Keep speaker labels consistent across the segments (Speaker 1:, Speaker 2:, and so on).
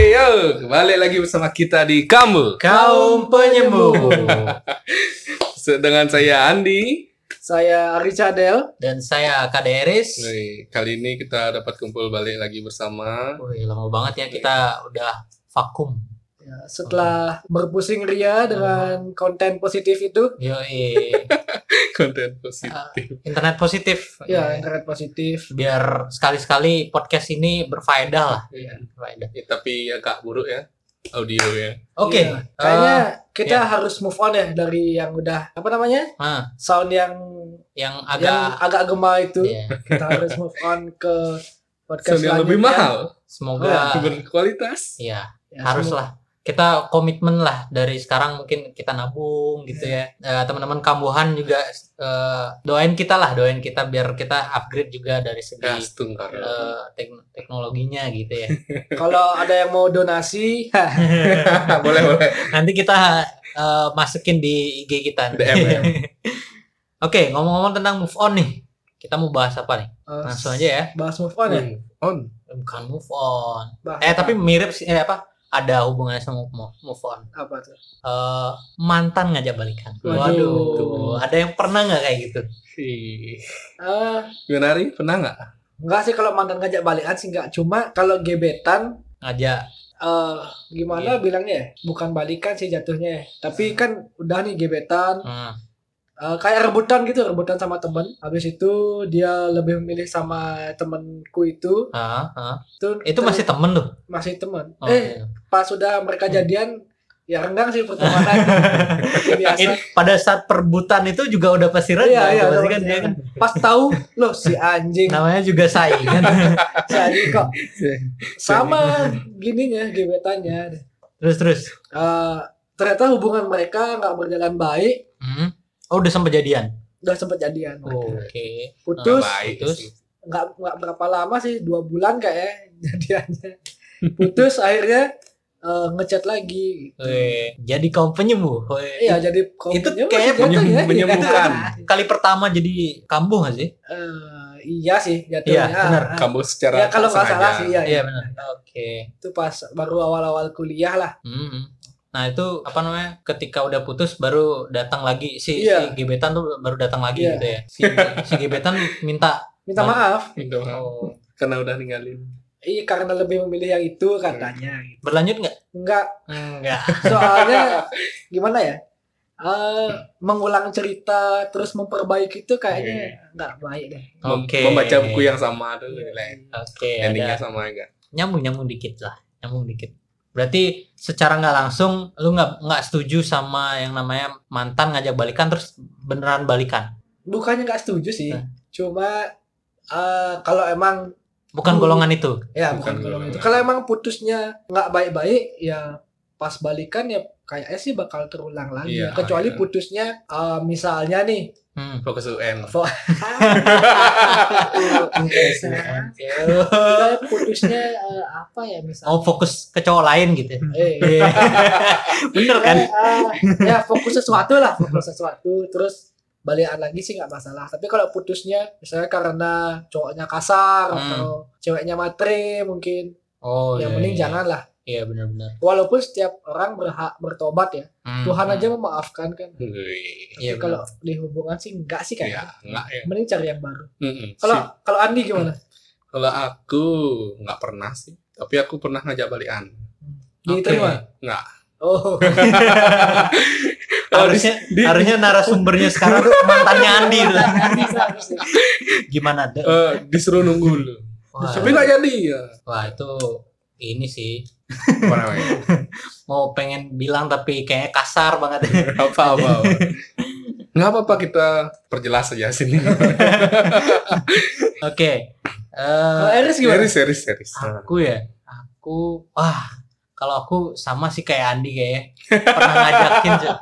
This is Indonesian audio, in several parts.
Speaker 1: Balik lagi bersama kita di Kamu
Speaker 2: Kaum penyembuh.
Speaker 1: Se- dengan saya Andi.
Speaker 3: Saya Ari Cadel.
Speaker 2: Dan saya Kaderis.
Speaker 1: Wih, Kali ini kita dapat kumpul balik lagi bersama.
Speaker 2: Wih, lama banget ya kita udah vakum. Iya.
Speaker 3: Ya, setelah berpusing ria dengan konten positif itu,
Speaker 2: Yoi.
Speaker 1: Konten positif.
Speaker 2: Internet positif.
Speaker 3: ya internet positif.
Speaker 2: Biar sekali-sekali podcast ini berfaedah lah.
Speaker 1: Iya.
Speaker 2: Berfaedah.
Speaker 1: Ya, tapi agak buruk ya audio ya.
Speaker 2: Oke.
Speaker 3: Ya, kayaknya kita
Speaker 2: ya.
Speaker 3: harus move on ya dari yang udah apa namanya
Speaker 2: Eh, ah,
Speaker 3: sound yang
Speaker 2: yang
Speaker 3: yang
Speaker 2: agak
Speaker 3: agak gema itu.
Speaker 2: ya,
Speaker 3: Kita harus move on ke podcast
Speaker 1: Sound yang lebih
Speaker 3: selanjutnya. Nah.
Speaker 1: mahal, Nah.
Speaker 2: semoga
Speaker 1: berkualitas.
Speaker 2: Nah, ya
Speaker 3: Ya,
Speaker 2: haruslah kita komitmen lah dari sekarang mungkin kita nabung gitu ya Eh, teman-teman kambuhan juga eh, doain kita lah doain kita biar kita upgrade juga dari segi
Speaker 1: Gas tungkar.
Speaker 2: eh, tek- teknologinya gitu ya
Speaker 3: semoga- Kalau ada yang mau donasi, eh, Nah.
Speaker 1: boleh boleh.
Speaker 2: nanti kita eh, masukin di IG kita nih.
Speaker 1: DM ya.
Speaker 2: oke ngomong-ngomong tentang move on nih kita mau bahas apa nih
Speaker 3: eh,
Speaker 2: langsung aja ya
Speaker 3: bahas move on ya.
Speaker 1: Hmm. On.
Speaker 2: Eh, bukan move on
Speaker 3: Bahas
Speaker 2: eh
Speaker 3: apa?
Speaker 2: tapi mirip sih eh, apa ada hubungannya sama move move on
Speaker 3: apa tuh?
Speaker 2: Eh, mantan ngajak balikan.
Speaker 3: Waduh.
Speaker 2: Waduh, ada yang pernah nggak kayak gitu?
Speaker 1: Ih.
Speaker 3: Eh,
Speaker 1: Gimana Ari? Pernah nggak?
Speaker 3: enggak sih kalau mantan ngajak balikan sih enggak cuma kalau gebetan
Speaker 2: Ngajak
Speaker 3: eh
Speaker 2: Iya.
Speaker 3: gimana bilangnya ya? bukan balikan sih jatuhnya ya. tapi kan udah nih gebetan
Speaker 2: hmm,
Speaker 3: Eh, kayak rebutan gitu rebutan sama temen habis itu dia lebih memilih sama temenku itu
Speaker 2: ah, ah.
Speaker 3: itu,
Speaker 2: Itu masih temen tuh.
Speaker 3: masih temen
Speaker 2: Oh, Hmm.
Speaker 3: eh
Speaker 2: iya.
Speaker 3: pas sudah mereka jadian ya rendang sih pertemanan biasa
Speaker 2: Ini pada saat perbutan itu juga udah pasti reda.
Speaker 3: Iya, iya,
Speaker 2: udah pasti
Speaker 3: udah
Speaker 2: kan,
Speaker 3: pasti
Speaker 2: dia kan
Speaker 3: pas tahu loh si anjing
Speaker 2: namanya juga saingan.
Speaker 3: si anjing kok sama gininya gebetannya
Speaker 2: terus terus.
Speaker 3: Eh, ternyata hubungan mereka nggak berjalan baik
Speaker 2: Hmm. Oh, udah sampai jadian.
Speaker 3: udah sempat jadian
Speaker 2: Oke.
Speaker 3: putus
Speaker 1: Nggak baik
Speaker 2: putus.
Speaker 1: sih.
Speaker 3: nggak nggak berapa lama sih dua bulan kayaknya jadiannya putus akhirnya eh, ngechat lagi
Speaker 2: Weh, Jadi kaum penyembuh. Weh.
Speaker 3: iya jadi kok-
Speaker 2: Itu
Speaker 3: ya,
Speaker 2: kayaknya
Speaker 3: masih jatuh
Speaker 1: menyem-
Speaker 3: ya.
Speaker 1: menyembuhkan.
Speaker 2: Kali pertama jadi kambuh gak sih?
Speaker 3: Eh, iya sih
Speaker 2: Iya,
Speaker 3: jatuhnya
Speaker 2: benar.
Speaker 3: Ah,
Speaker 1: Kamu secara
Speaker 3: ya kalau nggak
Speaker 1: sengaja.
Speaker 3: salah sih ya,
Speaker 2: Iya benar. Oke.
Speaker 3: itu pas baru awal-awal kuliah lah
Speaker 2: Hmm. Nah itu apa namanya ketika udah putus baru datang lagi si,
Speaker 3: Iya.
Speaker 2: si gebetan tuh baru datang lagi
Speaker 3: Iya.
Speaker 2: gitu ya si, si gebetan minta
Speaker 3: minta
Speaker 2: Nah.
Speaker 3: maaf
Speaker 1: Minta maaf.
Speaker 2: oh,
Speaker 1: Karena udah ninggalin.
Speaker 3: iya karena lebih memilih yang itu katanya gitu.
Speaker 2: berlanjut nggak?
Speaker 3: enggak
Speaker 2: Enggak.
Speaker 3: soalnya gimana ya Eh, mengulang cerita terus memperbaiki
Speaker 1: Iya,
Speaker 3: itu kayaknya nggak baik deh
Speaker 1: Mem-
Speaker 2: Oke.
Speaker 1: Membaca buku yang sama tuh lebih
Speaker 3: Iya.
Speaker 1: lain.
Speaker 2: Oke.
Speaker 1: Endingnya
Speaker 2: Ada
Speaker 1: sama enggak?
Speaker 2: nyambung nyambung dikit lah nyambung dikit. Berarti secara nggak langsung lu nggak nggak setuju sama yang namanya mantan ngajak balikan terus beneran balikan.
Speaker 3: bukannya nggak setuju sih
Speaker 2: Nah.
Speaker 3: cuma eh, kalau emang
Speaker 2: Bukan
Speaker 3: Hmm.
Speaker 2: golongan itu.
Speaker 3: ya
Speaker 1: Bukan
Speaker 3: bukan golongan
Speaker 1: golongan.
Speaker 3: itu kalau emang putusnya nggak baik-baik ya pas balikan ya kayaknya sih bakal terulang lagi
Speaker 1: Iya,
Speaker 3: kecuali
Speaker 1: iya.
Speaker 3: putusnya eh, misalnya nih
Speaker 2: Hmm.
Speaker 1: Fokus UN.
Speaker 3: fo-
Speaker 1: Iya,
Speaker 3: Misalnya putusnya eh, apa ya
Speaker 2: Oh
Speaker 3: misalnya
Speaker 2: fokus ke cowok lain gitu.
Speaker 3: Eh,
Speaker 2: Bener kan?
Speaker 3: eh, eh, ya fokus sesuatu lah fokus sesuatu terus balikan lagi sih nggak masalah tapi kalau putusnya misalnya karena cowoknya kasar
Speaker 2: Hmm.
Speaker 3: atau ceweknya matre mungkin
Speaker 2: Oh.
Speaker 3: yang
Speaker 2: iya,
Speaker 3: mending
Speaker 2: iya.
Speaker 3: jangan lah
Speaker 2: Iya benar-benar.
Speaker 3: walaupun setiap orang berhak bertobat ya
Speaker 2: Hmm,
Speaker 3: Tuhan
Speaker 2: hmm.
Speaker 3: aja memaafkan kan
Speaker 1: Wih.
Speaker 2: Iya,
Speaker 3: Tapi kalau di hubungan sih enggak sih
Speaker 1: Ya,
Speaker 3: kayaknya
Speaker 1: enggak ya.
Speaker 3: mending cari yang baru
Speaker 1: Mm-mm.
Speaker 3: kalau
Speaker 1: Sip.
Speaker 3: kalau Andi gimana
Speaker 1: kalau aku nggak pernah sih. Tapi aku pernah ngajak balikan.
Speaker 3: diterima
Speaker 1: Nggak.
Speaker 3: oh
Speaker 1: Kalau
Speaker 2: harusnya
Speaker 1: di- di-
Speaker 2: harusnya narasumbernya sekarang tuh mantannya Andi tuh.
Speaker 3: Bisa, bisa.
Speaker 2: Gimana deh?
Speaker 1: eh, disuruh nunggu dulu.
Speaker 2: Wah,
Speaker 1: Tapi nggak jadi. Ya.
Speaker 2: wah, itu ini sih
Speaker 1: Apa namanya?
Speaker 2: mau pengen bilang tapi kayaknya kasar banget.
Speaker 1: Apa apa. apa. Nggak apa-apa kita perjelas aja sini.
Speaker 2: Oke.
Speaker 3: kalau
Speaker 2: Eh
Speaker 3: Eris gimana
Speaker 1: Serius, serius, serius.
Speaker 2: aku ya, aku wah kalau aku sama sih kayak Andi kayaknya pernah ngajakin Cuk.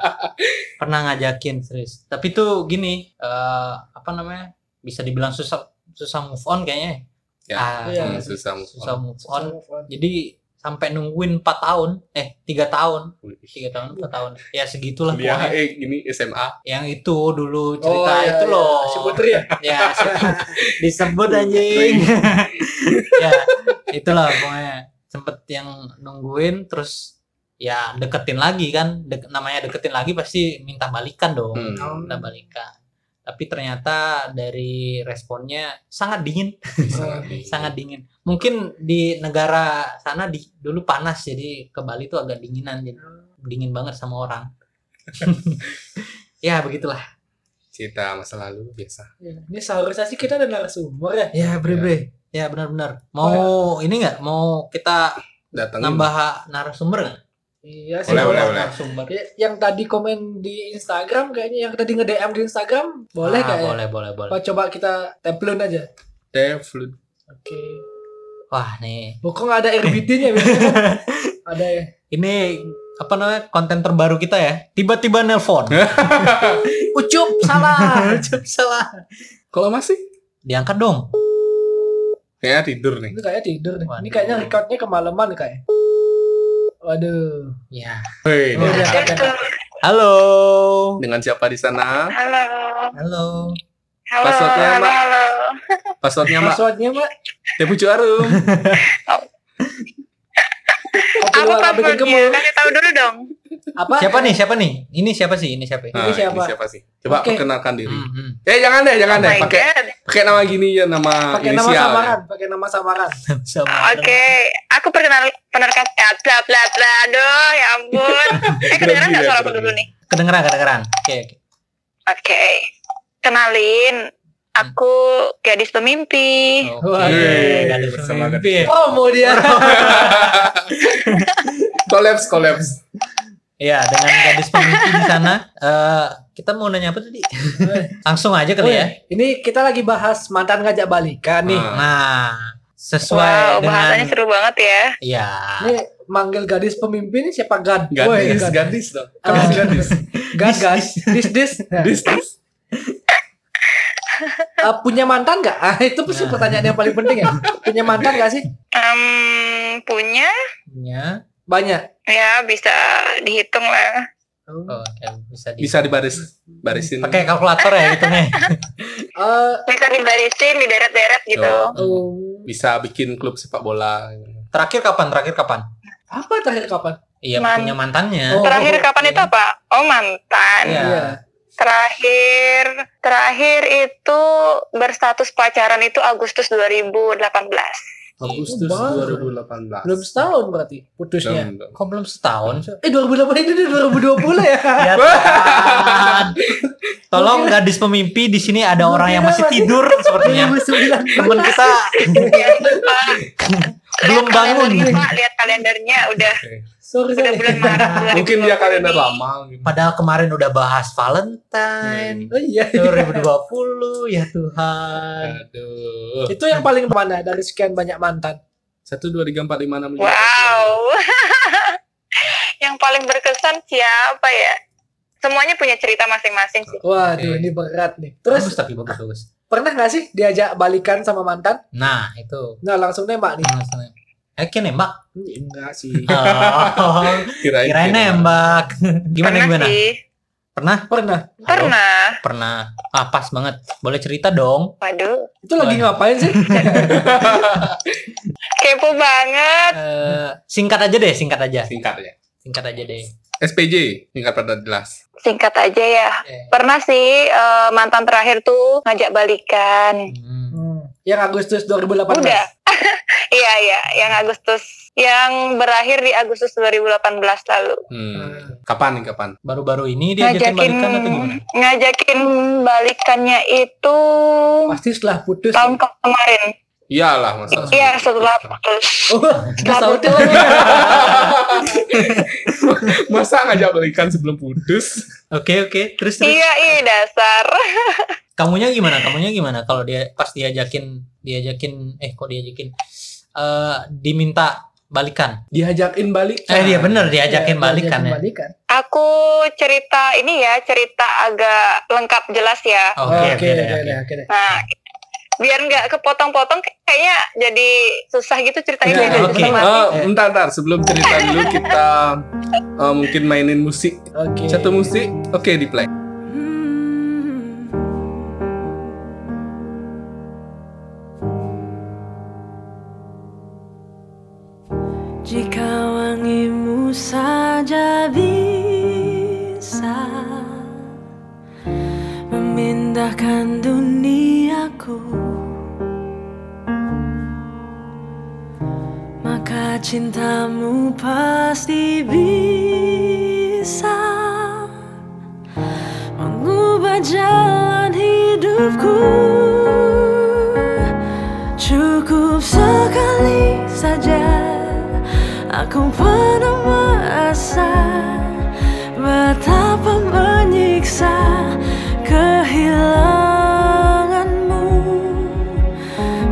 Speaker 2: pernah ngajakin serius tapi tuh gini eh apa namanya bisa dibilang susah susah move on kayaknya
Speaker 1: Ya,
Speaker 2: Ah,
Speaker 3: iya.
Speaker 1: Hmm, susah move
Speaker 2: susah
Speaker 1: on.
Speaker 2: move on jadi sampai nungguin 4 tahun eh tiga tahun tiga tahun empat
Speaker 3: Iya.
Speaker 2: tahun ya segitulah
Speaker 1: Dia
Speaker 2: pokoknya.
Speaker 1: eh gini SMA.
Speaker 2: yang itu dulu cerita
Speaker 3: iya,
Speaker 2: itu
Speaker 3: iya.
Speaker 2: loh
Speaker 3: si Putri ya
Speaker 2: ya si- disebut anjing ya itulah pokoknya sempet yang nungguin terus ya deketin lagi kan Dek- namanya deketin lagi pasti minta balikan dong
Speaker 1: Hmm.
Speaker 2: minta balikan tapi ternyata dari responnya sangat dingin sangat dingin mungkin di negara sana di dulu panas jadi ke Bali tuh agak dinginan jadi dingin banget sama orang ya begitulah
Speaker 1: Cerita masa lalu biasa.
Speaker 3: Ya, Ini seharusnya sih kita ada narasumber ya.
Speaker 2: ya bre
Speaker 1: Ya.
Speaker 2: bre ya benar-benar mau ini nggak mau kita
Speaker 1: Datangin.
Speaker 2: nambah narasumber nggak?
Speaker 3: Iya sih.
Speaker 1: Boleh,
Speaker 3: kalau-
Speaker 1: boleh, boleh.
Speaker 2: narasumber
Speaker 3: Ya, Yang tadi komen di Instagram kayaknya yang tadi nge-DM di Instagram boleh
Speaker 2: Ah,
Speaker 3: gak ya?
Speaker 2: boleh boleh boleh
Speaker 3: Apa coba kita templon aja.
Speaker 1: Devlin.
Speaker 3: Oke.
Speaker 2: wah nih
Speaker 3: Kok nggak ada RBD-nya biasanya kan? ada ya.
Speaker 2: ini apa namanya konten terbaru kita ya tiba-tiba nelpon
Speaker 3: Ucup salah.
Speaker 2: Ucup, salah
Speaker 1: Kalau masih?
Speaker 2: diangkat dong
Speaker 1: Kayaknya tidur nih.
Speaker 3: Ini kayaknya tidur nih. Ini
Speaker 2: Waduh.
Speaker 3: kayaknya recordnya kemalaman kayak. Waduh.
Speaker 2: ya
Speaker 1: Hei,
Speaker 3: Ini
Speaker 4: iya.
Speaker 3: udah angkat, angkat.
Speaker 2: halo
Speaker 1: dengan siapa di sana?
Speaker 4: Halo.
Speaker 2: halo
Speaker 4: Halo.
Speaker 1: Passwordnya,
Speaker 4: halo,
Speaker 1: Mbak.
Speaker 4: halo.
Speaker 1: Passwordnya Mak
Speaker 3: Passwordnya mak.
Speaker 1: Debu Arum.
Speaker 3: Apa
Speaker 4: Apa
Speaker 3: lu nggak bikin
Speaker 4: passwordnya?
Speaker 3: gemuk?
Speaker 4: Kasih tahu dulu dong.
Speaker 3: Apa?
Speaker 2: siapa nih siapa nih ini siapa sih ini siapa ya?
Speaker 1: Nah, ini
Speaker 3: siapa?
Speaker 1: siapa? sih? Coba
Speaker 3: Oke.
Speaker 1: perkenalkan diri.
Speaker 2: Hmm, hmm.
Speaker 1: Eh jangan deh, jangan
Speaker 4: Oh
Speaker 1: deh.
Speaker 4: my
Speaker 1: Pakai
Speaker 4: god.
Speaker 1: pakai nama gini ya, nama
Speaker 3: Pakai nama
Speaker 1: inisial.
Speaker 3: samaran. Pakai nama samaran.
Speaker 2: Sama
Speaker 4: Oke, aku perkenal penerkat ya, bla bla bla. Aduh, ya ampun. Eh, kedengeran nggak
Speaker 1: Gila,
Speaker 4: suara aku
Speaker 1: gila.
Speaker 4: dulu nih?
Speaker 2: Kedengeran, kedengeran. Oke, oke.
Speaker 4: Oke. Kenalin, aku gadis pemimpi.
Speaker 1: Oh,
Speaker 2: Oke,
Speaker 1: Yeay,
Speaker 2: gadis
Speaker 1: bersama
Speaker 2: pemimpin.
Speaker 3: Promo dia.
Speaker 1: Collapse, collapse.
Speaker 2: Iya, dengan gadis pemimpin di sana, eh, kita mau nanya apa tadi? Langsung aja kali ya.
Speaker 3: Weh, Ini kita lagi bahas mantan ngajak balikan nih.
Speaker 1: Ah.
Speaker 2: Nah,
Speaker 4: Wow,
Speaker 2: sesuai
Speaker 4: bahasanya
Speaker 2: dengan
Speaker 4: seru banget ya.
Speaker 2: Iya.
Speaker 1: Ah.
Speaker 3: Ini manggil gadis pemimpin ini siapa Gan? Woi,
Speaker 1: Gadis,
Speaker 3: Gan.
Speaker 1: gadis dong.
Speaker 3: Ah.
Speaker 1: Gadis, gadis.
Speaker 3: Gan, Gan. Dis, dis.
Speaker 1: Gadis, gadis.
Speaker 3: Eh, punya mantan nggak? Ah, itu sih
Speaker 2: Nah.
Speaker 3: pertanyaan yang paling penting ya. Punya mantan nggak sih?
Speaker 4: Em, punya
Speaker 2: punya
Speaker 3: Banyak.
Speaker 4: ya bisa dihitung lah.
Speaker 3: Eh,
Speaker 2: oh, oke, bisa di
Speaker 1: Bisa dibaris barisin.
Speaker 2: pakai kalkulator ya hitungnya.
Speaker 4: Bisa dibarisin, dideret-deret gitu.
Speaker 1: Yo.
Speaker 3: Eh, um,
Speaker 1: Bisa bikin klub sepak bola.
Speaker 2: Terakhir kapan? Terakhir kapan?
Speaker 3: apa terakhir kapan?
Speaker 2: Iya,
Speaker 4: Man-
Speaker 2: punya mantannya.
Speaker 3: Oh,
Speaker 4: Terakhir kapan
Speaker 2: iya.
Speaker 4: itu apa? Oh, mantan.
Speaker 2: Iya.
Speaker 4: Terakhir terakhir itu berstatus pacaran itu Agustus 2018.
Speaker 1: Agustus
Speaker 3: Oh, baru.
Speaker 1: 2018.
Speaker 3: Belum setahun berarti putusnya.
Speaker 1: Belum, belum.
Speaker 2: Kok belum setahun?
Speaker 3: Eh 2008 itu dia 2020 ya.
Speaker 2: Ya, Tuhan. kan? Tolong gadis pemimpi di sini ada orang yang masih tidur sepertinya.
Speaker 3: 2009.
Speaker 2: ya. Temen kita
Speaker 4: Jangan lupa
Speaker 2: belum bangun.
Speaker 4: lihat kalendernya, Pak. Lihat kalendernya udah
Speaker 3: Sorry,
Speaker 4: udah
Speaker 3: sorry.
Speaker 4: bulan Maret.
Speaker 1: Mungkin
Speaker 4: 2020
Speaker 1: dia kalender
Speaker 4: nih.
Speaker 1: lama. gitu.
Speaker 2: Padahal kemarin udah bahas Valentine
Speaker 3: Oh iya.
Speaker 2: 2020 ya Tuhan.
Speaker 1: Aduh.
Speaker 3: Itu yang paling mana dari sekian banyak mantan?
Speaker 1: Satu dua tiga empat lima enam. tujuh,
Speaker 4: Wow. Yang paling berkesan siapa ya? Semuanya punya cerita masing-masing sih.
Speaker 3: Waduh,
Speaker 1: Oke.
Speaker 3: ini berat nih.
Speaker 2: Terus
Speaker 3: Terus
Speaker 2: tapi bagus bagus.
Speaker 3: pernah nggak sih diajak balikan sama mantan?
Speaker 2: Nah, itu.
Speaker 3: Nah langsung nembak nih.
Speaker 2: Maksudnya. Eh, kayak nembak.
Speaker 3: Enggak sih.
Speaker 2: Oh,
Speaker 1: Kirain,
Speaker 2: kirain nembak. Gimana
Speaker 4: Pernah
Speaker 2: gimana?
Speaker 4: sih.
Speaker 2: Pernah?
Speaker 3: Pernah.
Speaker 2: Halo?
Speaker 4: Pernah.
Speaker 2: Pernah. Ah, pas banget. Boleh cerita dong.
Speaker 4: Waduh.
Speaker 3: Itu lagi
Speaker 2: Waduh.
Speaker 3: ngapain sih?
Speaker 4: Kepo banget.
Speaker 2: Eh, singkat aja deh, singkat aja.
Speaker 1: Singkat ya.
Speaker 2: Singkat aja deh.
Speaker 1: SPJ singkat pada jelas.
Speaker 4: Singkat aja ya.
Speaker 2: Eh,
Speaker 4: Pernah sih eh, mantan terakhir tuh ngajak balikan.
Speaker 2: hmm.
Speaker 3: Hmm. Yang Agustus 2018.
Speaker 4: Udah. Iya iya, yang Agustus yang berakhir di Agustus 2018 lalu.
Speaker 1: Hmm. Kapan nih kapan?
Speaker 2: Baru-baru ini dia jadi balikan atau gimana?
Speaker 4: ngajakin balikannya itu
Speaker 3: Pasti setelah putus.
Speaker 4: tahun kemarin.
Speaker 1: Iyalah masa.
Speaker 4: Iya, setelah putus.
Speaker 3: Oh, udah
Speaker 4: Tahun
Speaker 3: sautil
Speaker 4: putus.
Speaker 3: lagi.
Speaker 1: masa ngajak balikan sebelum putus?
Speaker 2: Oke, oke. Terus terus.
Speaker 4: Iya, iya dasar.
Speaker 2: kamunya gimana kamunya gimana kalau dia pas diajakin diajakin eh kok diajakin Eh diminta balikan
Speaker 3: Diajakin balik. Nah,
Speaker 2: eh dia bener diajakin balikan ya
Speaker 3: Ah, iya, Balikan.
Speaker 4: Aku cerita ini ya, cerita agak lengkap jelas ya.
Speaker 2: oke
Speaker 3: Oke,
Speaker 2: oke
Speaker 3: oke,
Speaker 2: deh,
Speaker 3: oke,
Speaker 2: oke.
Speaker 3: oke. deh.
Speaker 4: Nah, biar nggak kepotong-potong kayaknya jadi susah gitu ceritain
Speaker 3: Iya,
Speaker 4: dari
Speaker 2: oke. Oh,
Speaker 4: masing-masing.
Speaker 1: Eh, bentar, bentar. Sebelum cerita dulu kita eh, mungkin mainin musik.
Speaker 3: Oke.
Speaker 1: Satu musik, oke di play.
Speaker 5: Jika wangimu saja bisa memindahkan duniaku, maka cintamu pasti bisa mengubah jalan hidupku. Cukup sekali saja Aku pernah merasa betapa menyiksa kehilanganmu.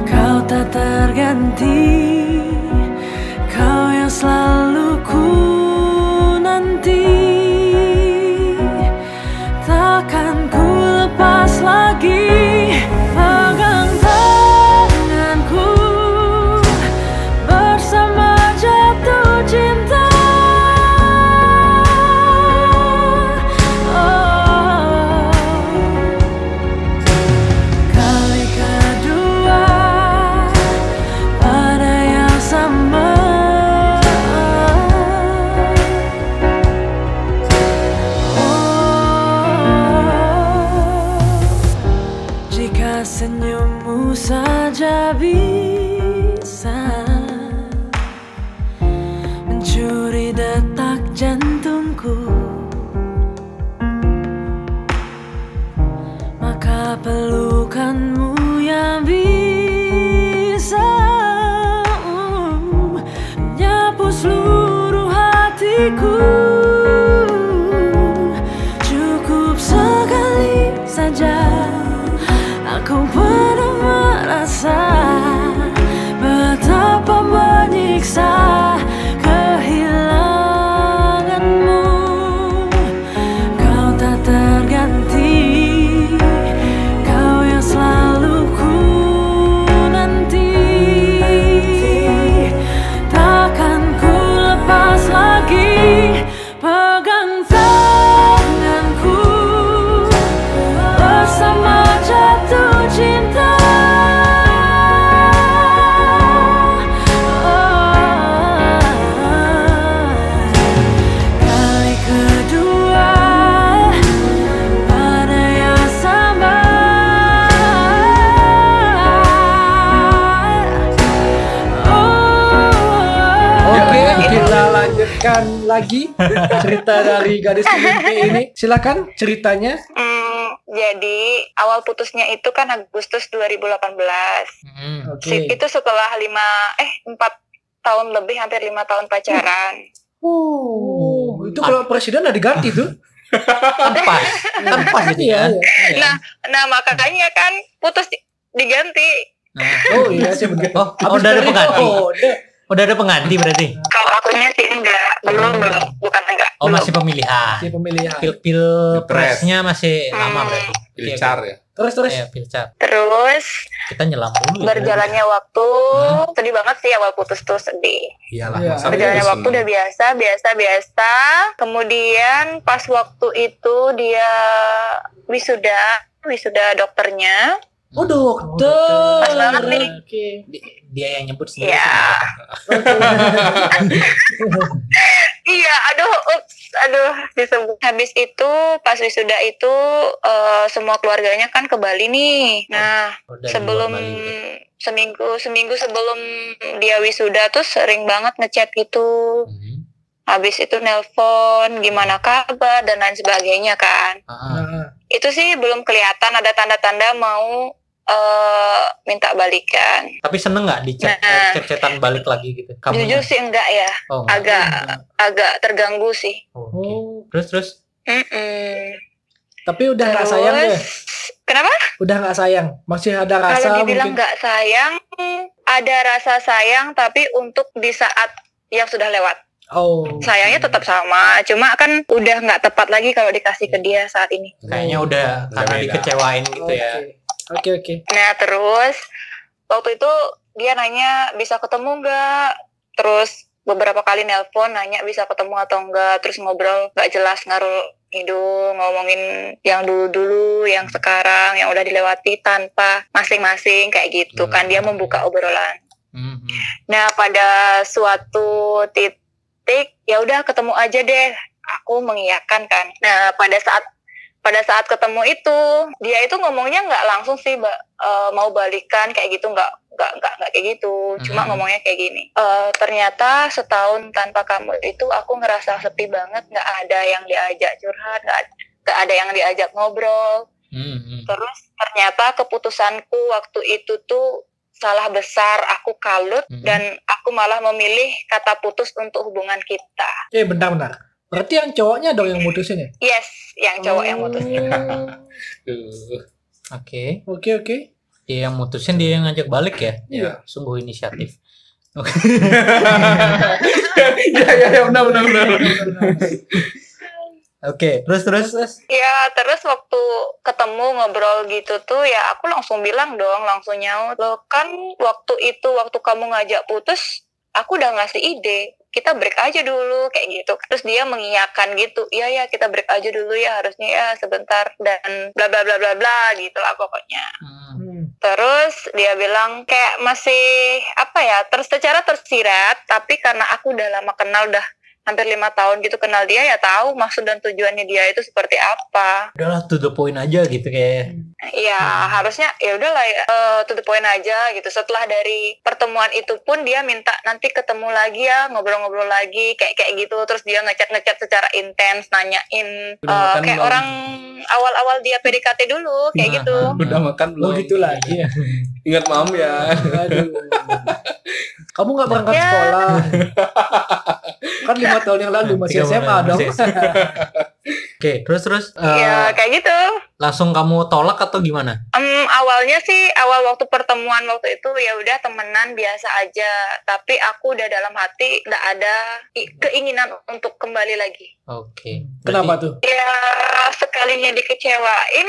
Speaker 5: Kau tak terganti, kau yang selalu ku nanti. Takkan ku lepas lagi. Pegang tanganku, Bersama jatuh cinta, oh kali kedua pada yang sama, oh. Jika senyummu saja bisa Mencuri detak jantungku Maka pelukanmu yang bisa mm, Menyapu seluruh hatiku Cukup sekali saja Aku pernah merasa betapa menyiksa kehilanganmu. Kau tak terganti, kau yang selalu ku nanti. Takkan ku lepas lagi. Pegang tanganku bersama jatuh cinta. Oh. Kali kedua pada yang sama. Oh.
Speaker 3: Oke, kita lanjutkan lagi cerita dari gadis mimpi ini. Silakan ceritanya.
Speaker 4: Hmm, jadi awal putusnya itu kan Agustus 2018.
Speaker 2: Hmm.
Speaker 4: Si-
Speaker 3: Oke.
Speaker 4: Itu setelah lima eh empat tahun lebih hampir lima tahun pacaran.
Speaker 3: Oh, itu kalau presiden udah diganti tuh.
Speaker 2: Kan pas, kan pas jadi
Speaker 3: Iya,
Speaker 2: kan.
Speaker 3: iya.
Speaker 2: Iya.
Speaker 4: Nah, Nah makanya kan putus di- diganti.
Speaker 2: Nah.
Speaker 3: Oh iya sih benar.
Speaker 2: Oh, oh,
Speaker 3: Habis
Speaker 2: udah ada
Speaker 3: dari
Speaker 2: pengganti.
Speaker 3: kode.
Speaker 2: Udah ada pengganti berarti.
Speaker 4: Kalau akunya sih enggak belum belum bukan enggak
Speaker 2: Oh,
Speaker 4: belum.
Speaker 2: masih pemilihan.
Speaker 3: Si pemilihan.
Speaker 2: Pil-pil presnya masih lama berarti.
Speaker 1: Pilih car ya.
Speaker 3: Terus terus.
Speaker 2: Iya, pilcar.
Speaker 4: Terus
Speaker 2: Kita nyelam dulu. ya.
Speaker 4: berjalannya waktu
Speaker 2: Hmm.
Speaker 4: sedih banget sih awal putus tuh sedih.
Speaker 1: Iyalah,
Speaker 3: Iya.
Speaker 1: masa
Speaker 4: Berjalannya
Speaker 1: putus
Speaker 4: waktu
Speaker 1: senang.
Speaker 4: udah biasa, biasa, biasa. Kemudian pas waktu itu dia wisuda, wisuda dokternya.
Speaker 2: Oh,
Speaker 3: Oh dokter.
Speaker 4: Pas banget nih.
Speaker 3: Oke.
Speaker 2: Di- Dia yang nyebut sendiri.
Speaker 4: Iya. Iya, aduh, ups, aduh, disebut. Habis itu pas wisuda itu eh, semua keluarganya kan ke Bali nih. Nah,
Speaker 2: Oh, dari luar
Speaker 4: sebelum
Speaker 2: Bali gitu.
Speaker 4: seminggu seminggu sebelum dia wisuda tuh sering banget ngechat gitu.
Speaker 2: Hmm.
Speaker 4: Habis itu nelpon, gimana kabar dan lain sebagainya kan.
Speaker 2: Ah, ah.
Speaker 3: Nah,
Speaker 4: itu sih belum kelihatan ada tanda-tanda mau eh minta balikan.
Speaker 2: Tapi seneng nggak di chat,
Speaker 4: Nah.
Speaker 2: cetan balik lagi gitu? Kamu
Speaker 4: Jujur sih enggak ya,
Speaker 2: oh, nggak.
Speaker 4: agak agak terganggu sih.
Speaker 2: Oh, oke.
Speaker 3: Oh,
Speaker 2: Terus terus.
Speaker 4: Mm-mm.
Speaker 3: tapi udah nggak
Speaker 4: Terus,
Speaker 3: sayang ya? deh.
Speaker 4: Kenapa?
Speaker 3: Udah nggak sayang. Masih ada rasa
Speaker 4: Kalau dibilang
Speaker 3: mungkin.
Speaker 4: nggak sayang, ada rasa sayang tapi untuk di saat yang sudah lewat.
Speaker 3: Oh.
Speaker 4: Sayangnya tetap sama, cuma kan udah nggak tepat lagi kalau dikasih ke dia saat ini.
Speaker 2: Kayaknya udah
Speaker 1: Oh. Udah beda.
Speaker 2: karena
Speaker 1: Oh,
Speaker 2: dikecewain gitu
Speaker 3: Oke.
Speaker 2: ya.
Speaker 3: Oke oke.
Speaker 4: Nah terus waktu itu dia nanya bisa ketemu nggak? Terus beberapa kali nelpon nanya bisa ketemu atau enggak. Terus ngobrol nggak jelas ngarul hidung ngomongin yang dulu-dulu, yang sekarang, yang udah dilewati tanpa masing-masing kayak gitu
Speaker 1: Hmm.
Speaker 4: kan dia membuka obrolan.
Speaker 2: Hmm, hmm.
Speaker 4: Nah pada suatu titik ya udah ketemu aja deh. Aku mengiyakan kan. Nah pada saat pada saat ketemu itu dia itu ngomongnya nggak langsung sih ba- eh, mau balikan kayak gitu nggak nggak nggak nggak kayak gitu. Cuma
Speaker 2: Mhm.
Speaker 4: ngomongnya kayak gini. "Eh, ternyata setahun tanpa kamu itu aku ngerasa sepi banget. Nggak ada yang diajak curhat. Nggak ad- nggak ada yang diajak ngobrol.
Speaker 2: Hmm, hmm.
Speaker 4: Terus ternyata keputusanku waktu itu tuh salah besar, aku kalut
Speaker 2: Mhm.
Speaker 4: dan aku malah memilih kata putus untuk hubungan kita.
Speaker 3: Eh bentar bentar. Berarti yang cowoknya dong yang mutusin ya?
Speaker 4: Yes, yang cowok yang mutus.
Speaker 1: Duh,
Speaker 2: Oke,
Speaker 3: Oke oke.
Speaker 2: dia Iya, yang mutusin dia yang ngajak balik ya.
Speaker 1: Iya.
Speaker 2: Sungguh inisiatif.
Speaker 1: ya ya ya benar benar benar.
Speaker 2: Oke, terus terus terus.
Speaker 4: Ya, terus waktu ketemu ngobrol gitu tuh ya aku langsung bilang dong, langsung nyaut. Loh kan waktu itu waktu kamu ngajak putus, aku udah ngasih ide. Kita break aja dulu kayak gitu. Terus dia mengiyakan gitu. Iya ya, kita break aja dulu ya harusnya ya sebentar dan bla bla bla bla bla gitu lah pokoknya.
Speaker 2: Hmm.
Speaker 3: Hmm.
Speaker 4: Terus dia bilang kayak masih apa ya, terus secara tersirat, tapi karena aku udah lama kenal udah hampir lima tahun gitu kenal dia ya tahu maksud dan tujuannya dia itu seperti apa.
Speaker 2: Udahlah to the point aja gitu kayak.
Speaker 4: Ya
Speaker 2: Hmm.
Speaker 4: harusnya ya udahlah ya, eh, to the point aja gitu. Setelah dari pertemuan itu pun dia minta nanti ketemu lagi ya ngobrol-ngobrol lagi kayak kayak gitu. Terus dia ngechat-ngechat secara intens, nanyain
Speaker 2: Udah
Speaker 4: eh,
Speaker 2: makan
Speaker 4: kayak
Speaker 2: belum?
Speaker 4: orang awal-awal dia PDKT dulu
Speaker 2: Nah,
Speaker 4: kayak gitu.
Speaker 1: Udah makan belum?
Speaker 3: Lo gitu
Speaker 2: Iya.
Speaker 3: lagi ya.
Speaker 1: Ingat mam ya.
Speaker 3: Aduh. Kamu nggak berangkat
Speaker 4: Ya.
Speaker 3: sekolah? Kan lima tahun yang lalu masih
Speaker 2: Tiga
Speaker 3: SMA
Speaker 2: bulan,
Speaker 3: dong.
Speaker 2: masih Oke, terus terus eh,
Speaker 4: Ya kayak gitu.
Speaker 2: langsung kamu tolak atau gimana?
Speaker 4: Em, awalnya sih awal waktu pertemuan waktu itu ya udah temenan biasa aja tapi aku udah dalam hati nggak ada i- keinginan untuk kembali lagi
Speaker 2: Oke.
Speaker 3: Kenapa
Speaker 2: Berarti-
Speaker 3: tuh?
Speaker 4: ya sekalinya dikecewain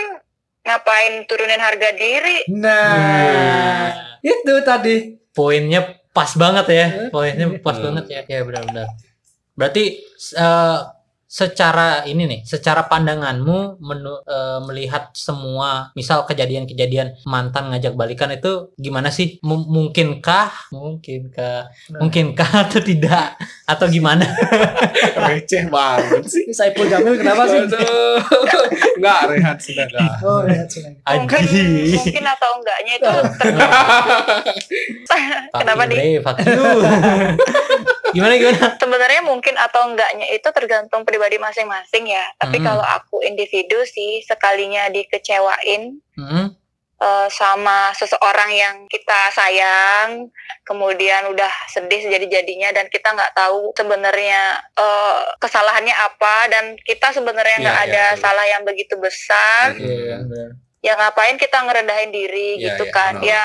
Speaker 4: ngapain turunin harga diri
Speaker 3: Nah,
Speaker 2: Nah,
Speaker 3: itu tadi.
Speaker 2: poinnya pas banget ya. Poinnya pas
Speaker 1: Hmm.
Speaker 2: banget ya. Ya benar-benar. Berarti eh, secara ini nih, secara pandanganmu menu- eh, melihat semua misal kejadian-kejadian mantan ngajak balikan itu gimana sih? Mu- mungkinkah? Mungkinkah? Mungkinkah atau tidak? Atau gimana?
Speaker 1: Receh banget sih.
Speaker 3: Ini Saiful Jamil kenapa sih?
Speaker 1: Aduh. Enggak rehat sudah dah.
Speaker 3: Oh, lihat sini.
Speaker 4: mungkin
Speaker 2: Aji.
Speaker 4: mungkin atau enggaknya itu
Speaker 2: Fuck
Speaker 4: Kenapa,
Speaker 2: you,
Speaker 4: Di?
Speaker 2: Bre, fuck you. gimana gimana?
Speaker 4: sebenarnya mungkin atau enggaknya itu tergantung pribadi masing-masing ya tapi
Speaker 2: Hmm.
Speaker 4: kalau aku individu sih sekalinya dikecewain
Speaker 2: Hmm,
Speaker 4: eh, sama seseorang yang kita sayang, kemudian udah sedih sejadi-jadinya dan kita nggak tahu sebenarnya eh, kesalahannya apa dan kita
Speaker 1: Iya,
Speaker 4: sebenarnya nggak
Speaker 1: iya,
Speaker 4: ada
Speaker 1: betul.
Speaker 4: salah yang begitu besar.
Speaker 1: Iya.
Speaker 4: Ya ngapain kita ngerendahin diri
Speaker 1: Iya,
Speaker 4: gitu
Speaker 1: iya,
Speaker 4: kan?
Speaker 1: benar.
Speaker 4: Ya,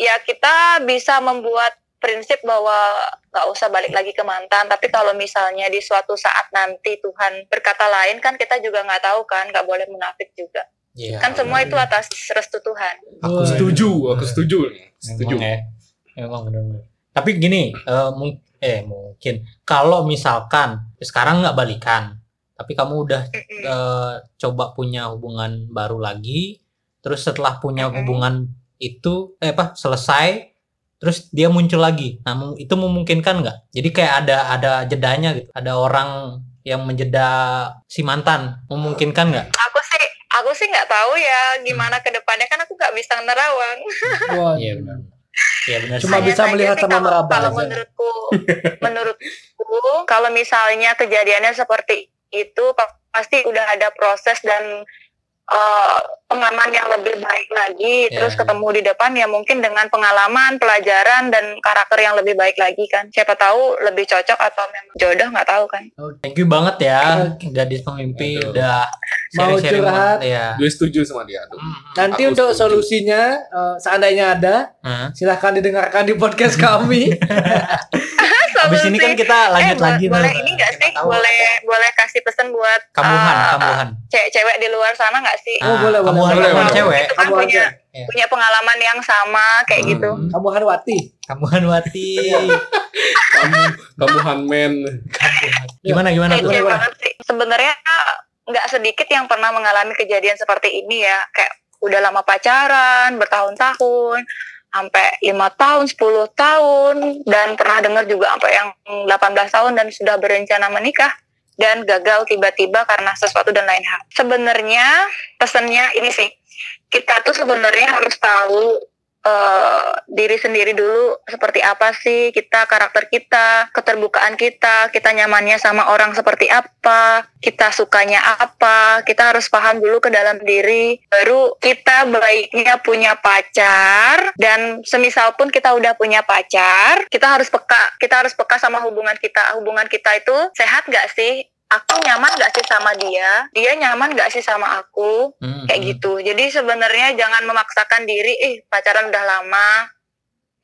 Speaker 4: ya kita bisa membuat prinsip bahwa nggak usah balik lagi ke mantan. Tapi kalau misalnya di suatu saat nanti Tuhan berkata lain kan kita juga nggak tahu kan, nggak boleh munafik juga.
Speaker 2: Iya.
Speaker 4: Kan semua itu atas restu Tuhan.
Speaker 1: Aku
Speaker 2: Oh,
Speaker 1: setuju, aku setuju. Setuju.
Speaker 2: Memang ya. Memang benar-benar. Tapi gini, eh, mung- eh mungkin kalau misalkan sekarang nggak balikan, tapi kamu udah
Speaker 4: Mm-mm.
Speaker 1: Nah,
Speaker 2: eh, coba punya hubungan baru lagi, terus setelah punya
Speaker 4: Mm-mm.
Speaker 2: hubungan itu eh apa selesai, terus dia muncul lagi. Nah, mu- itu memungkinkan nggak? Jadi kayak ada ada jedanya gitu. Ada orang yang menjeda si mantan, memungkinkan nggak?
Speaker 4: aku sih aku sih nggak tahu ya
Speaker 2: Hmm.
Speaker 4: gimana kedepannya kan aku nggak bisa nerawang
Speaker 3: Wah,
Speaker 2: Iya benar.
Speaker 3: Cuma
Speaker 2: sih.
Speaker 3: bisa
Speaker 4: saja
Speaker 3: melihat
Speaker 4: sih
Speaker 3: sama
Speaker 4: kalau-
Speaker 3: meraba
Speaker 4: kalau
Speaker 3: aja.
Speaker 4: menurutku menurutku kalau misalnya kejadiannya seperti itu pa- pasti udah ada proses dan eh, pengaman yang lebih baik lagi
Speaker 2: Ya,
Speaker 4: terus
Speaker 2: ya.
Speaker 4: ketemu di depan ya mungkin dengan pengalaman pelajaran dan karakter yang lebih baik lagi kan siapa tahu lebih cocok atau memang jodoh nggak tahu kan
Speaker 2: Thank you banget ya gadis pemimpi
Speaker 1: Aduh.
Speaker 2: udah
Speaker 3: Mau
Speaker 2: sharing-sharing
Speaker 3: curhat. Kan
Speaker 2: banget ya.
Speaker 1: Gue setuju sama dia. Aduh.
Speaker 3: Nanti
Speaker 1: Aku
Speaker 3: untuk
Speaker 1: setuju.
Speaker 3: solusinya eh, seandainya ada,
Speaker 2: Hah?
Speaker 3: silahkan didengarkan di podcast kami.
Speaker 2: Abis ini kan kita lanjut
Speaker 4: eh, bo-
Speaker 2: lagi
Speaker 4: boleh
Speaker 2: Nol.
Speaker 4: ini nggak sih
Speaker 2: Tahu.
Speaker 4: boleh boleh kasih pesan buat
Speaker 2: Kambuhan,
Speaker 4: eh,
Speaker 2: kambuhan.
Speaker 4: cewek-cewek di luar sana nggak sih
Speaker 2: Ah.
Speaker 3: Oh, boleh, boleh,
Speaker 2: Kambuhan
Speaker 1: boleh,
Speaker 2: kambuhan
Speaker 1: boleh.
Speaker 2: cewek.
Speaker 4: itu kan
Speaker 3: Kamu
Speaker 4: punya
Speaker 3: aja.
Speaker 2: Iya.
Speaker 4: punya pengalaman yang sama kayak
Speaker 1: Hmm.
Speaker 4: gitu.
Speaker 2: Hmm,
Speaker 3: Kamu Hanwati.
Speaker 2: Kambuhan Wati.
Speaker 1: Kamu kamu handman.
Speaker 2: Kambuhan. gimana gimana tuh?
Speaker 4: Kece
Speaker 3: boleh.
Speaker 4: banget sih. Sebenarnya nggak sedikit yang pernah mengalami kejadian seperti ini ya. Kayak udah lama pacaran, bertahun-tahun, sampai lima tahun, 10 tahun dan pernah dengar juga sampai yang 18 tahun dan sudah berencana menikah dan gagal tiba-tiba karena sesuatu dan lain hal. Sebenarnya pesannya ini sih kita tuh sebenarnya harus tahu eh, diri sendiri dulu seperti apa sih kita karakter kita keterbukaan kita kita nyamannya sama orang seperti apa kita sukanya apa kita harus paham dulu ke dalam diri baru kita baiknya punya pacar dan semisal pun kita udah punya pacar kita harus peka kita harus peka sama hubungan kita hubungan kita itu sehat gak sih aku nyaman gak sih sama dia dia nyaman gak sih sama aku
Speaker 2: Hmm,
Speaker 4: kayak
Speaker 2: hmm.
Speaker 4: gitu. Jadi sebenarnya jangan memaksakan diri, eh pacaran udah lama,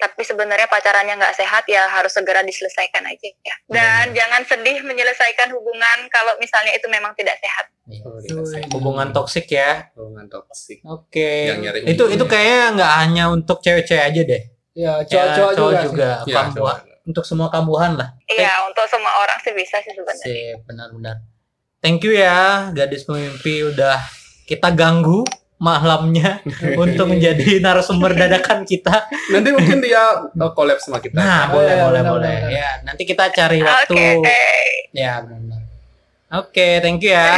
Speaker 4: tapi sebenarnya pacarannya nggak sehat ya harus segera diselesaikan aja ya. Dan jangan sedih menyelesaikan hubungan kalau misalnya itu memang tidak sehat.
Speaker 1: Oh,
Speaker 3: Tuh,
Speaker 1: dirasain.
Speaker 2: Iya. Hubungan toksik ya.
Speaker 1: hubungan toksik
Speaker 2: Oke.
Speaker 1: Yang nyari
Speaker 2: Itu
Speaker 1: ujungnya.
Speaker 2: itu kayaknya nggak hanya untuk cewek-cewek aja deh.
Speaker 3: ya
Speaker 2: Ya,
Speaker 3: cowok-cowok juga, sih.
Speaker 2: juga.
Speaker 1: Ya,
Speaker 2: Kambuhan.
Speaker 1: coba.
Speaker 2: Untuk semua kambuhan lah.
Speaker 4: Iya, untuk semua orang sih bisa sih sebenarnya.
Speaker 2: Sip, benar-benar. Thank you ya, gadis pemimpi udah kita ganggu malamnya untuk menjadi narasumber dadakan kita.
Speaker 1: nanti mungkin dia uh, collab sama kita
Speaker 2: Nah,
Speaker 3: Oh,
Speaker 2: boleh,
Speaker 3: ya,
Speaker 2: boleh,
Speaker 3: benar,
Speaker 2: boleh.
Speaker 3: benar.
Speaker 2: Ya, nanti kita cari waktu.
Speaker 4: Oke,
Speaker 2: Ya, benar. Oke, thank you ya.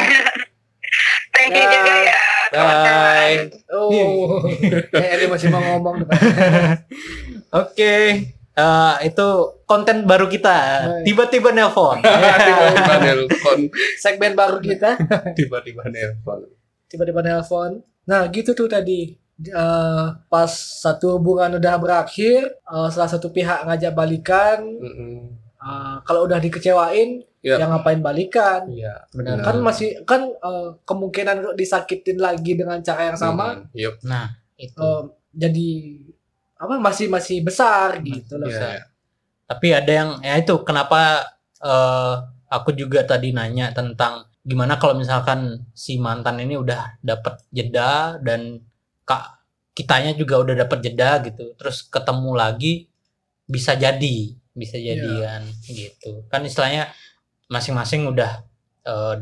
Speaker 4: thank you
Speaker 3: Ya.
Speaker 4: juga ya. teman-teman.
Speaker 2: Bye.
Speaker 4: Iya.
Speaker 3: oh kayak dia masih mau ngomong depan.
Speaker 2: Oke. eh, itu konten baru kita.
Speaker 3: Baik.
Speaker 2: Tiba-tiba nelpon.
Speaker 1: tiba-tiba nelpon
Speaker 3: segmen baru kita
Speaker 1: tiba-tiba nelpon
Speaker 3: tiba-tiba nelpon nah gitu tuh tadi Eh, pas satu hubungan udah berakhir eh, salah satu pihak ngajak balikan
Speaker 1: Mm-mm.
Speaker 3: eh, kalau udah dikecewain
Speaker 1: Ya.
Speaker 3: yang ngapain balikan
Speaker 1: iya
Speaker 2: Benar.
Speaker 3: kan masih kan eh, kemungkinan untuk disakitin lagi dengan cara yang sama
Speaker 1: Mm, yup.
Speaker 2: Nah, itu.
Speaker 3: eh, jadi apa masih masih besar gitu loh
Speaker 1: Iya,
Speaker 3: Sa.
Speaker 1: iya.
Speaker 2: tapi ada yang ya itu kenapa eh, aku juga tadi nanya tentang gimana kalau misalkan si mantan ini udah dapat jeda dan kak kitanya juga udah dapat jeda gitu terus ketemu lagi bisa jadi bisa
Speaker 3: Iya.
Speaker 2: jadian gitu kan istilahnya masing-masing udah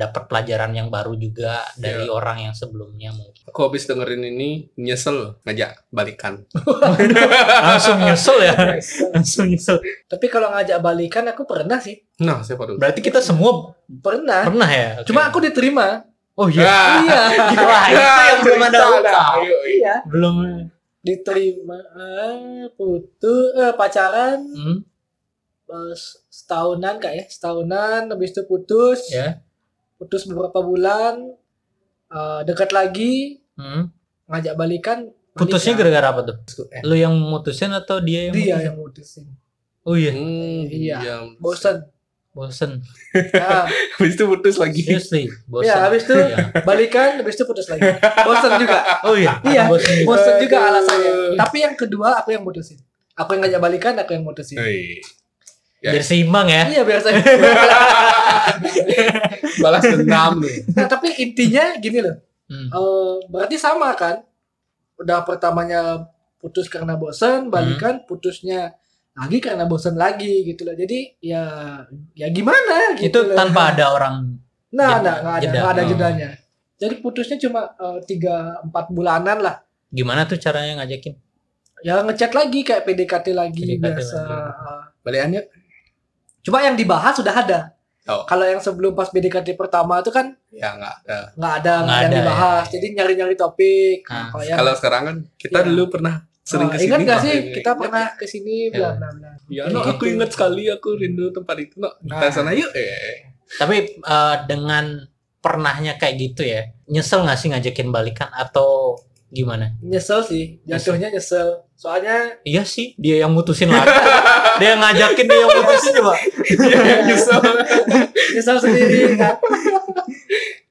Speaker 2: dapat pelajaran yang baru juga
Speaker 3: Iya.
Speaker 2: dari orang yang sebelumnya mungkin
Speaker 1: aku habis dengerin ini nyesel ngajak balikan
Speaker 2: langsung nyusul ya langsung nyusul
Speaker 3: tapi kalau ngajak balikan aku pernah sih
Speaker 1: nah siapa dulu
Speaker 2: berarti kita semua
Speaker 3: pernah
Speaker 2: pernah ya Oke.
Speaker 3: cuma aku diterima
Speaker 2: oh iya
Speaker 1: Ah,
Speaker 3: iya
Speaker 2: Wah, itu yang belum ada
Speaker 1: cerita
Speaker 2: luka.
Speaker 1: Nah, dah, ayo, ayo.
Speaker 3: iya
Speaker 2: belum
Speaker 3: diterima eh, putus eh, pacaran
Speaker 2: hmm,
Speaker 3: eh, setahunan kak ya setahunan habis itu putus
Speaker 2: ya
Speaker 3: putus beberapa bulan eh, dekat lagi
Speaker 2: hmm.
Speaker 3: ngajak balikan
Speaker 2: putusnya
Speaker 3: menikah.
Speaker 2: gara-gara apa tuh lu yang mutusin atau dia yang
Speaker 3: dia
Speaker 2: mutusin?
Speaker 3: yang mutusin
Speaker 2: oh iya
Speaker 1: Hmm,
Speaker 3: Iya.
Speaker 1: iya.
Speaker 3: bosan
Speaker 2: bosen
Speaker 3: Nah,
Speaker 1: habis itu putus lagi
Speaker 2: seriously bosen
Speaker 3: ya habis itu
Speaker 2: Iya.
Speaker 3: balikan habis itu putus lagi bosan juga
Speaker 2: oh iya ada
Speaker 3: Iya.
Speaker 2: bosen juga.
Speaker 3: bosan juga
Speaker 1: Aduh.
Speaker 3: alasannya tapi yang kedua aku yang mutusin aku yang ngajak balikan aku yang mutusin
Speaker 2: Iya.
Speaker 1: Hei. Ya.
Speaker 2: biar seimbang ya
Speaker 3: iya biasa
Speaker 1: balas dendam nih
Speaker 3: nah tapi intinya gini loh
Speaker 2: Hmm.
Speaker 3: Eh, berarti sama kan udah pertamanya putus karena
Speaker 2: Hmm.
Speaker 3: bosan balikan putusnya lagi karena bosan lagi gitu loh jadi ya ya gimana gitu
Speaker 2: itu
Speaker 3: loh.
Speaker 2: tanpa ada orang jeda-
Speaker 3: nah nah nggak ada
Speaker 2: jeda.
Speaker 3: nggak ada
Speaker 2: Oh.
Speaker 3: jedanya jadi putusnya cuma eh, tiga empat bulanan lah
Speaker 2: gimana tuh caranya ngajakin
Speaker 3: ya ngechat lagi kayak PDKT lagi
Speaker 2: PDKT
Speaker 3: biasa
Speaker 2: lagi.
Speaker 3: Eh,
Speaker 1: balikannya
Speaker 3: cuma yang dibahas sudah ada
Speaker 1: Oh.
Speaker 3: kalau yang sebelum pas PDKT pertama itu kan
Speaker 1: ya nggak ada
Speaker 3: nggak ada
Speaker 2: Nggak
Speaker 3: yang
Speaker 2: ada,
Speaker 3: dibahas
Speaker 2: ya.
Speaker 3: jadi nyari nyari topik
Speaker 2: Ah,
Speaker 3: kalau yang
Speaker 1: kalau sekarang kan kita
Speaker 3: Ya. Iya.
Speaker 1: dulu pernah sering
Speaker 3: Oh,
Speaker 1: kesini
Speaker 3: ingat nggak
Speaker 1: Pak.
Speaker 3: sih
Speaker 1: Iya,
Speaker 3: kita
Speaker 1: iya.
Speaker 3: pernah kesini bla bla bla
Speaker 1: ya
Speaker 3: Kayak
Speaker 1: no,
Speaker 3: gitu.
Speaker 1: aku ingat sekali aku rindu tempat itu no kita
Speaker 3: Nah.
Speaker 1: sana yuk eh
Speaker 2: tapi eh, dengan pernahnya kayak gitu ya nyesel nggak sih ngajakin balikan atau gimana
Speaker 3: nyesel sih jatuhnya nyesel soalnya
Speaker 2: iya sih dia yang mutusin lagi dia yang ngajakin dia yang mutusin coba
Speaker 1: Iya, nyesel
Speaker 3: nyesel sendiri kan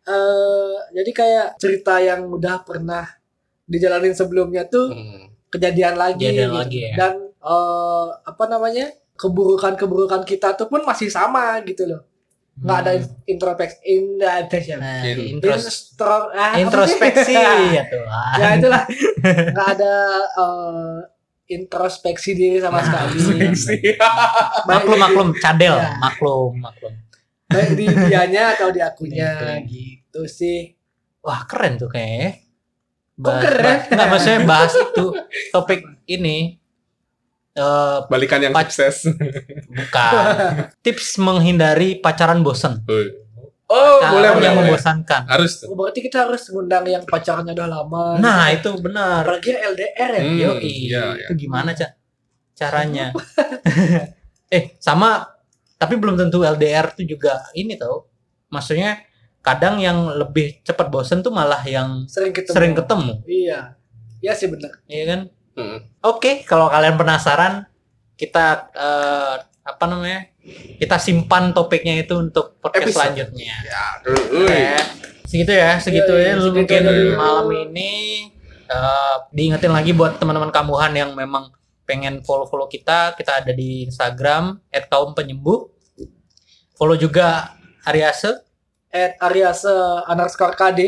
Speaker 3: Eh, jadi kayak cerita yang udah pernah dijalanin sebelumnya tuh
Speaker 1: Hmm,
Speaker 3: kejadian lagi
Speaker 2: Kejadian
Speaker 3: gitu.
Speaker 2: lagi ya.
Speaker 3: dan eh, apa namanya keburukan keburukan kita tuh pun masih sama gitu loh nggak ada
Speaker 2: Hmm.
Speaker 3: introspeksi introspeksi
Speaker 2: Nah,
Speaker 1: In-
Speaker 2: intros-
Speaker 3: Intro- ah, apa sih?
Speaker 2: introspeksi ya Tuhan.
Speaker 3: ya itulah nggak ada eh, introspeksi diri
Speaker 2: Nah,
Speaker 3: sama sekali Baik
Speaker 2: maklum
Speaker 3: di-
Speaker 2: maklum cadel
Speaker 3: Ya.
Speaker 2: maklum maklum
Speaker 3: baik di dianya atau di akunya
Speaker 2: Gitu.
Speaker 3: gitu sih
Speaker 2: wah keren tuh kayaknya ya.
Speaker 3: keren?
Speaker 2: nggak maksudnya bahas itu topik ini eh,
Speaker 1: Balikan yang
Speaker 2: Pac-
Speaker 1: sukses.
Speaker 2: bukan tips menghindari pacaran bosen.
Speaker 1: Woi.
Speaker 3: Oh,
Speaker 1: boleh,
Speaker 2: Pacaran
Speaker 1: boleh,
Speaker 2: yang
Speaker 1: boleh.
Speaker 2: membosankan.
Speaker 1: Harus tuh.
Speaker 3: Oh, berarti kita harus ngundang yang pacarnya udah lama.
Speaker 2: Nah itu benar.
Speaker 3: apalagi LDR ya.
Speaker 1: Hmm,
Speaker 2: Yoi,
Speaker 1: iya, iya.
Speaker 2: itu gimana Ca? caranya? eh sama tapi belum tentu LDR tuh juga ini tau. Maksudnya kadang yang lebih cepat bosen tuh malah yang
Speaker 3: Sering ketemu.
Speaker 2: sering ketemu,
Speaker 3: Iya. Iya sih benar.
Speaker 2: ya kan?
Speaker 1: Mm.
Speaker 2: Oke, kalau kalian penasaran, kita eh, apa namanya? Kita simpan topiknya itu untuk podcast
Speaker 3: Episode.
Speaker 2: selanjutnya.
Speaker 1: Aduh, woi.
Speaker 2: Ya, segitu ya, segitu
Speaker 3: Iya, iya,
Speaker 2: ya. Lu
Speaker 3: segitu
Speaker 2: mungkin
Speaker 1: aja.
Speaker 2: malam ini eh, diingetin lagi buat teman-teman kambuhan yang memang pengen follow-follow kita. Kita ada di Instagram @kaumpenyembuh. Follow juga Ariase,
Speaker 3: At Ariase underscore KD.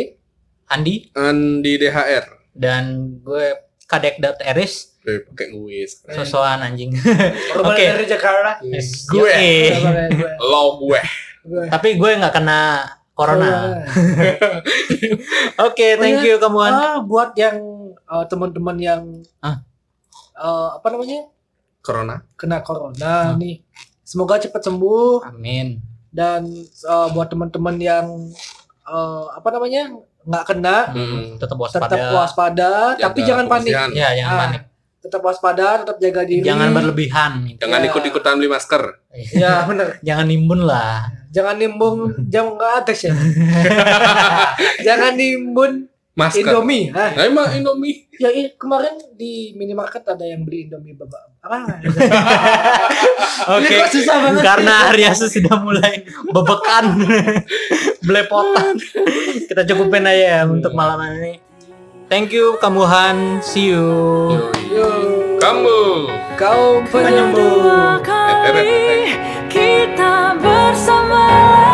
Speaker 2: Andi,
Speaker 1: Andi DHR.
Speaker 2: dan gue kadek.eris.
Speaker 1: Eh, pakai gue sekarang.
Speaker 2: Sosokan anjing.
Speaker 3: Orang
Speaker 2: Oke.
Speaker 3: dari Jakarta. Iya,
Speaker 1: Gue.
Speaker 2: eh, Yoi.
Speaker 3: Orang dari gue.
Speaker 1: Lo gue.
Speaker 3: Gue.
Speaker 2: Tapi gue nggak kena
Speaker 3: Oh,
Speaker 2: corona.
Speaker 3: Orang. Oh,
Speaker 2: Oke, thank you kamuhan.
Speaker 3: Ah, buat yang eh, teman-teman yang
Speaker 2: Ah.
Speaker 3: eh, apa namanya
Speaker 1: Corona.
Speaker 3: kena corona
Speaker 2: Ah.
Speaker 3: nih, semoga cepat sembuh
Speaker 2: Amin.
Speaker 3: dan eh, buat teman-teman yang eh, apa namanya nggak kena
Speaker 1: Hmm.
Speaker 2: Tetap waspada.
Speaker 3: tetap waspada, tapi
Speaker 1: Jaga
Speaker 3: jangan panik.
Speaker 1: kebersihan.
Speaker 2: Ya, jangan
Speaker 3: Ah,
Speaker 2: panik.
Speaker 3: Tetap waspada, tetap jaga diri.
Speaker 2: Jangan berlebihan.
Speaker 1: Jangan
Speaker 3: Ya.
Speaker 1: ikut-ikutan beli masker.
Speaker 3: Ya benar.
Speaker 2: Jangan nimbun lah.
Speaker 3: Jangan nimbun jam ke atas ya. Jangan nimbun
Speaker 1: Masker.
Speaker 3: Indomie. Ah,
Speaker 1: Nah, emang Indomie.
Speaker 3: ya i- kemarin di minimarket ada yang beli Indomie babak. Ah,
Speaker 2: Oke.
Speaker 3: Ini kok susah banget sih?
Speaker 2: Karena Ariasa sudah mulai bebekan, belepotan. Kita cukupin aja ya untuk malam ini. Thank you Kamuhan. See you.
Speaker 1: Yoi.
Speaker 3: yo.
Speaker 1: Kamu.
Speaker 3: Kau penyembuh.
Speaker 5: Kedua kali kita bersama